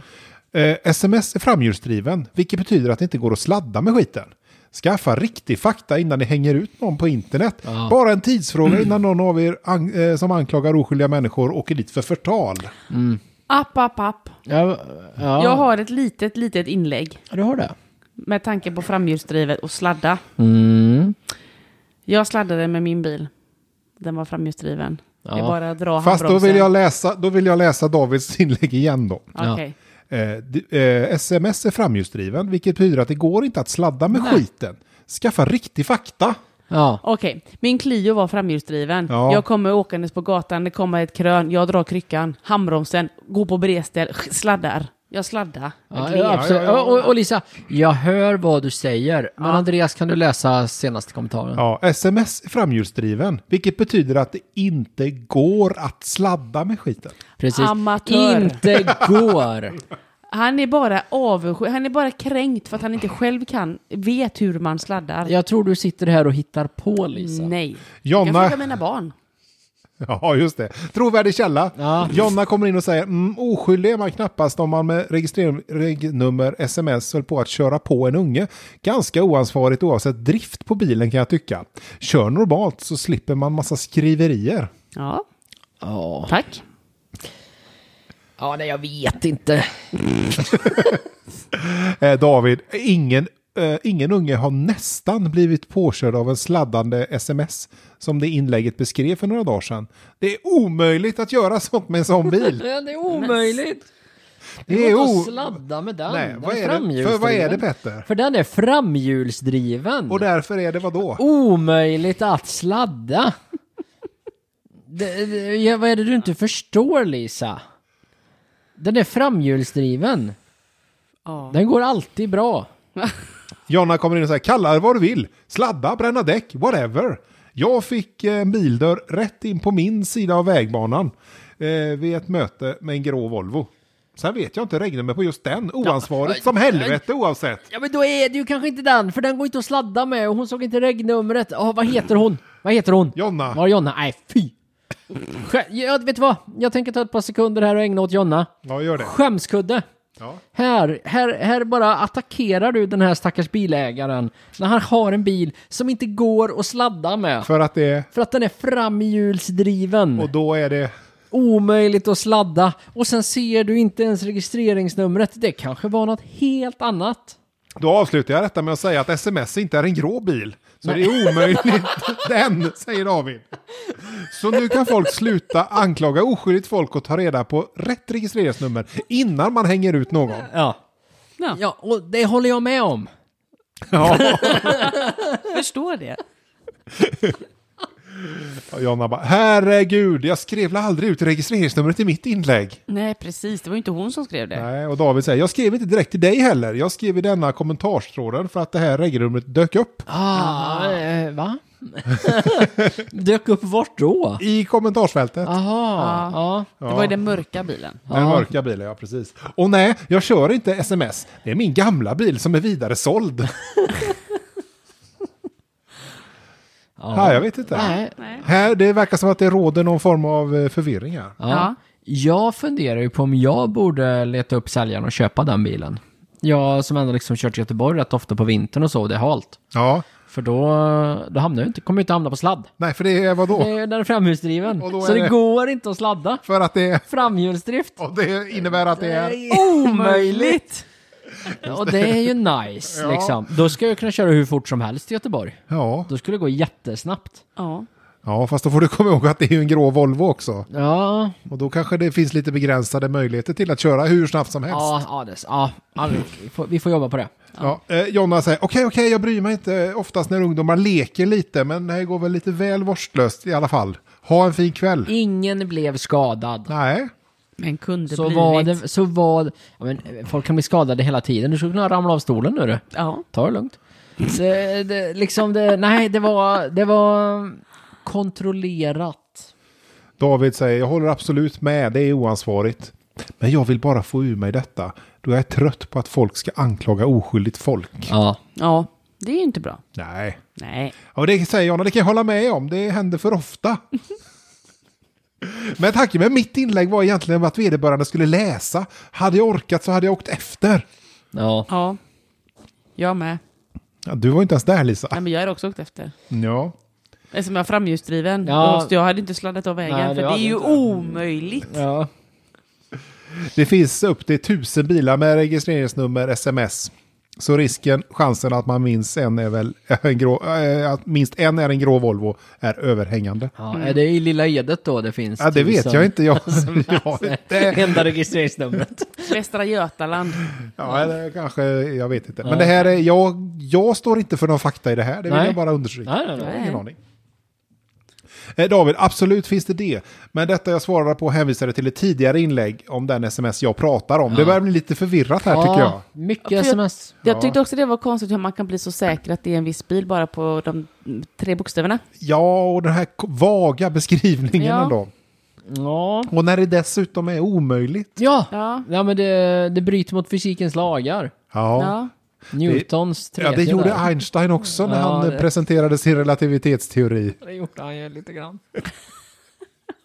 Eh, sms är framhjulsdriven, vilket betyder att det inte går att sladda med skiten. Skaffa riktig fakta innan ni hänger ut någon på internet.
Ja.
Bara en tidsfråga innan någon av er an- eh, som anklagar oskyldiga människor åker dit för förtal.
App, app, app.
Ja, ja.
Jag har ett litet, litet inlägg
Du har det?
med tanke på framhjulsdrivet och sladda.
Mm.
Jag sladdade med min bil. Den var framhjulsdriven. Det är
Ja.
bara att dra
Fast då
handbromsen.
vill, jag läsa, då vill jag läsa Davids inlägg igen då.
Ja.
Okej.
Eh, d- eh, sms är framhjulsdriven, vilket betyder att det går inte att sladda med skiten. Skaffa riktig fakta.
Ja.
Okej, min Clio var framhjulsdriven.
Ja.
Jag kommer åkandes på gatan, det kommer ett krön, jag drar kryckan, handbromsen, går på bredställ, sladdar. Jag sladdar. Jag
Ja,
gled.
ja, absolut.
Ja, ja, ja.
Och, och Lisa, jag hör vad du säger. Men Andreas, kan du läsa senaste kommentaren?
Ja, sms är framhjulsdriven, vilket betyder att det inte går att sladda med skiten.
Precis.
Amatör.
Inte går.
Han är bara avundsjuk, han är bara kränkt för att han inte själv kan, vet hur man sladdar.
Jag tror du sitter här och hittar på,
Mm.
Lisa.
Nej. Jag kan
Jonna,
fråga mina barn.
Ja, just det. Trovärdig källa.
Ja.
Jonna kommer in och säger mm, oskyldig är man knappast om man med registreringsnummer sms höll på att köra på en unge. Ganska oansvarigt oavsett drift på bilen kan jag tycka. Kör normalt så slipper man massa skriverier.
Ja,
Ja.
tack.
Ja, nej, jag vet inte.
Eh, David, ingen, eh, ingen unge har nästan blivit påkörd av en sladdande sms som det inlägget beskrev för några dagar sedan. Det är omöjligt att göra sånt med en sån bil.
Det är omöjligt.
Det är
inte att
o...
sladda med den.
Nej,
den
vad är det? För vad är det Petter?
För den är framhjulsdriven.
Och därför är det vad då?
Omöjligt att sladda. det, det, ja, vad är det du inte förstår, Lisa? Den är framhjulsdriven.
Ja.
Den går alltid bra.
Jonna kommer in och säger kalla det vad du vill, sladda, bränna däck, whatever. Jag fick eh, en bildörr rätt in på min sida av vägbanan eh, vid ett möte med en grå Volvo. Sen vet jag inte regnummer på just den, oansvarigt som helvete oavsett.
Ja men då är det ju kanske inte den, för den går inte att sladda med och hon såg inte regnumret. Ja, vad heter hon? Vad heter hon?
Jonna.
Var det Jonna? Nej, fy! Skä- Jag vet du vad? Jag tänker ta ett par sekunder här och ägna åt Jonna.
Ja, gör det.
Skämskudde!
Ja.
Här, här, här bara attackerar du den här stackars bilägaren när han har en bil som inte går att sladda med.
För att det är,
För att den är framhjulsdriven.
och då är det,
Omöjligt att sladda. Och sen ser du inte ens registreringsnumret. Det kanske var något helt annat.
Då avslutar jag detta med att säga att sms inte är en grå bil. Så det är omöjligt den, säger David. Så nu kan folk sluta anklaga oskyldigt folk och ta reda på rätt registreringsnummer innan man hänger ut någon.
Ja.
Ja.
ja, och det håller jag med om.
Ja,
Förstår det.
och Jonna bara, herregud, jag skrev väl aldrig ut registreringsnumret i mitt inlägg.
Nej, precis. Det var ju inte hon som skrev det.
Nej, och David säger, jag skrev inte direkt till dig heller. Jag skrev i denna kommentarstråden för att det här regelnumret dök upp.
Ah, eh, va? Dök upp vart då?
I kommentarsfältet.
Aha, ja.
Det var ju den mörka bilen.
Den mörka bilen, ja precis. Och nej, jag kör inte sms. Det är min gamla bil som är vidare såld.
Ja.
Här, jag vet inte.
Nej.
Nej.
Här, det verkar som att det råder någon form av eh, förvirring här.
Ja.
Ja.
Jag funderar ju på om jag borde leta upp säljaren och köpa den bilen. Jag som ändå liksom kört till Göteborg rätt ofta på vintern och så, och det är halt.
Ja,
För då, då hamnar jag inte, kommer jag inte hamna på sladd.
nej för det är
Det
vadå?
är, den är framhjulsdriven.
Och då är
Så det...
det-
går inte att sladda.
För att det,
Framhjulsdrift.
och det innebär att det är...
Omöjligt! Och det är ju nice
Ja.
liksom. Då ska jag kunna köra hur fort som helst till Göteborg.
Ja,
Då skulle det gå jättesnabbt.
Ja.
ja, fast då får du komma ihåg att det är ju en grå Volvo också.
Ja,
Och då kanske det finns lite begränsade möjligheter till att köra hur snabbt som helst.
ja, ja, det, ja, ja vi, får, vi får jobba på det.
Ja, eh, Jonna säger, okej, okej, jag bryr mig inte oftast när ungdomar leker lite, men det här går väl lite väl vårdslöst i alla fall. Ha en fin kväll.
Ingen blev skadad.
Nej,
Men kunde
så
blivit.
var det, så var ja, men eh, folk kan bli skadade hela tiden. Du skulle kunna ramla av stolen nu du.
Ja.
Ta det lugnt. Det, det, liksom det, nej, det var, det var kontrollerat.
David säger, jag håller absolut med, det är oansvarigt. Men jag vill bara få ur mig detta, då jag är trött på att folk ska anklaga oskyldigt folk.
Ja.
ja, det är ju inte bra.
Nej.
Nej.
Ja, och det säger Jonna, det kan jag hålla med om, det händer för ofta. Men tanken med mitt inlägg var egentligen att vederbörande skulle läsa. Hade jag orkat så hade jag åkt efter.
Ja.
Ja. Jag med.
Ja, du var inte ens där Lisa.
Nej, men jag är också åkt efter.
Ja.
Eftersom jag är framhjulsdriven.
Ja.
då måste- Jag hade inte sladdat av vägen.
Nej, det
för det är
hade
ju
inte.
Mm.
omöjligt.
ja.
Det finns upp till tusen bilar med registreringsnummer sms. Så risken, chansen att man minst en är väl en grå, eh, att minst en är en grå Volvo är överhängande.
ja. Är det i Lilla Edet då det finns?
Ja, det vet
tusen-
jag inte. Jag, jag, det,
Enda registreringsnumret.
Västra Götaland.
ja, eller kanske, jag vet inte. Men det här är, jag, jag står inte för någon fakta i det här. Det vill
Nej.
jag bara understryka.
Nej, nej, nej.
Jag har ingen aning. Eh, David, absolut finns det det. Men detta jag svarade på hänvisade till ett tidigare inlägg om den sms jag pratar om. Det börjar bli lite förvirrat här tycker jag.
Ja, mycket sms.
Jag tyckte också det var konstigt hur man kan bli så säker att det är en viss bil bara på de mm, tre bokstäverna.
Ja, och den här k- vaga beskrivningen
Ja.
ändå.
Ja.
Och när det dessutom är omöjligt.
Ja.
Ja.
ja, men det, det bryter mot fysikens lagar.
Ja, ja.
Ja.
Newtons
Det,
tredje
gjorde
där.
Einstein också när
Ja,
han
det-
eh, presenterade sin relativitetsteori.
Det gjorde han ju lite grann.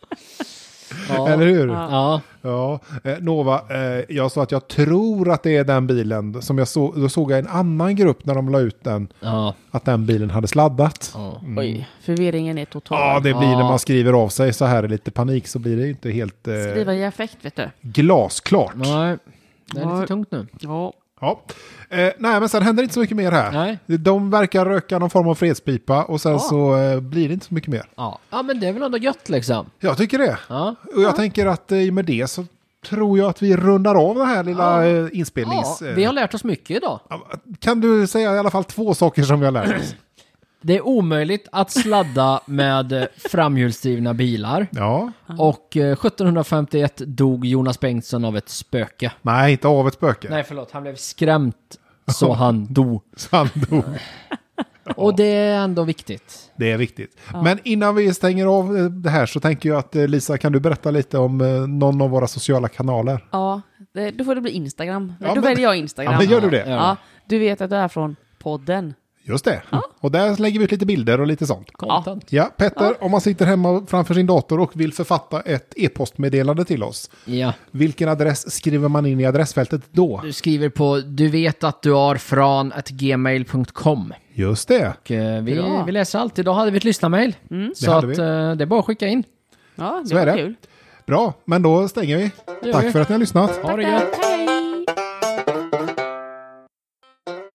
ja.
Eller hur? Ja.
Ja.
Ja.
Eh, Nova, eh, jag sa att jag tror att det är den bilen som jag såg. Då såg jag en annan grupp när de la ut den,
Ja.
att den bilen hade sladdat. Ja,
ja.
Oj, förvirringen är total.
det blir
Ja.
när man skriver av sig så här i lite panik så blir det ju inte helt eh,
Skriva i affekt, vet du.
glasklart.
Nej. Det är
Ja.
lite tungt nu.
Ja.
Ja. Eh, nej, men sen händer inte så mycket mer här.
Nej.
De verkar röka någon form av fredspipa och sen
Ja.
så eh, blir det inte så mycket mer.
Ja. ja, men det är väl ändå gött liksom.
Jag tycker det.
Ja.
Och jag tänker att eh, med det så tror jag att vi rundar av den här lilla ja.
ja.
inspelnings... eh,
Vi har lärt oss mycket idag.
Kan du säga i alla fall två saker som vi har lärt oss?
Det är omöjligt att sladda med eh, framhjulsdrivna bilar.
Ja.
Och eh, 1751 dog Jonas Bengtsson av ett spöke.
Nej, inte av ett spöke.
Nej, förlåt. Han blev skrämt så han dog.
Sandor.
Och det är ändå viktigt.
Det är viktigt. Men innan vi stänger av eh, det här så tänker jag att eh, Lisa, kan du berätta lite om eh, någon av våra sociala kanaler?
Ja, det, då får det bli Instagram.
Ja,
då
men-
väljer jag
Ja,
Instagram.
men gör du det?
Ja.
Ja, du vet att du är från podden.
Just det. Och där lägger vi ut lite bilder och lite sånt.
Content.
Ja, Petter, om man sitter hemma framför sin dator och vill författa ett e-postmeddelande till oss,
Ja.
vilken adress skriver man in i adressfältet då?
Du skriver på du vet att du har från att gmail.com.
Just det.
Och, eh, Vi,
Bra.
vi läser allt. Idag hade vi ett lyssnarmail.
Det
Så att
hade
eh,
vi.
det är bara att skicka in.
Ja, det
Så är
var
det.
kul.
Bra, men då stänger vi.
gör
Tack
vi.
för att ni har lyssnat.
Ha det gött.
Tack.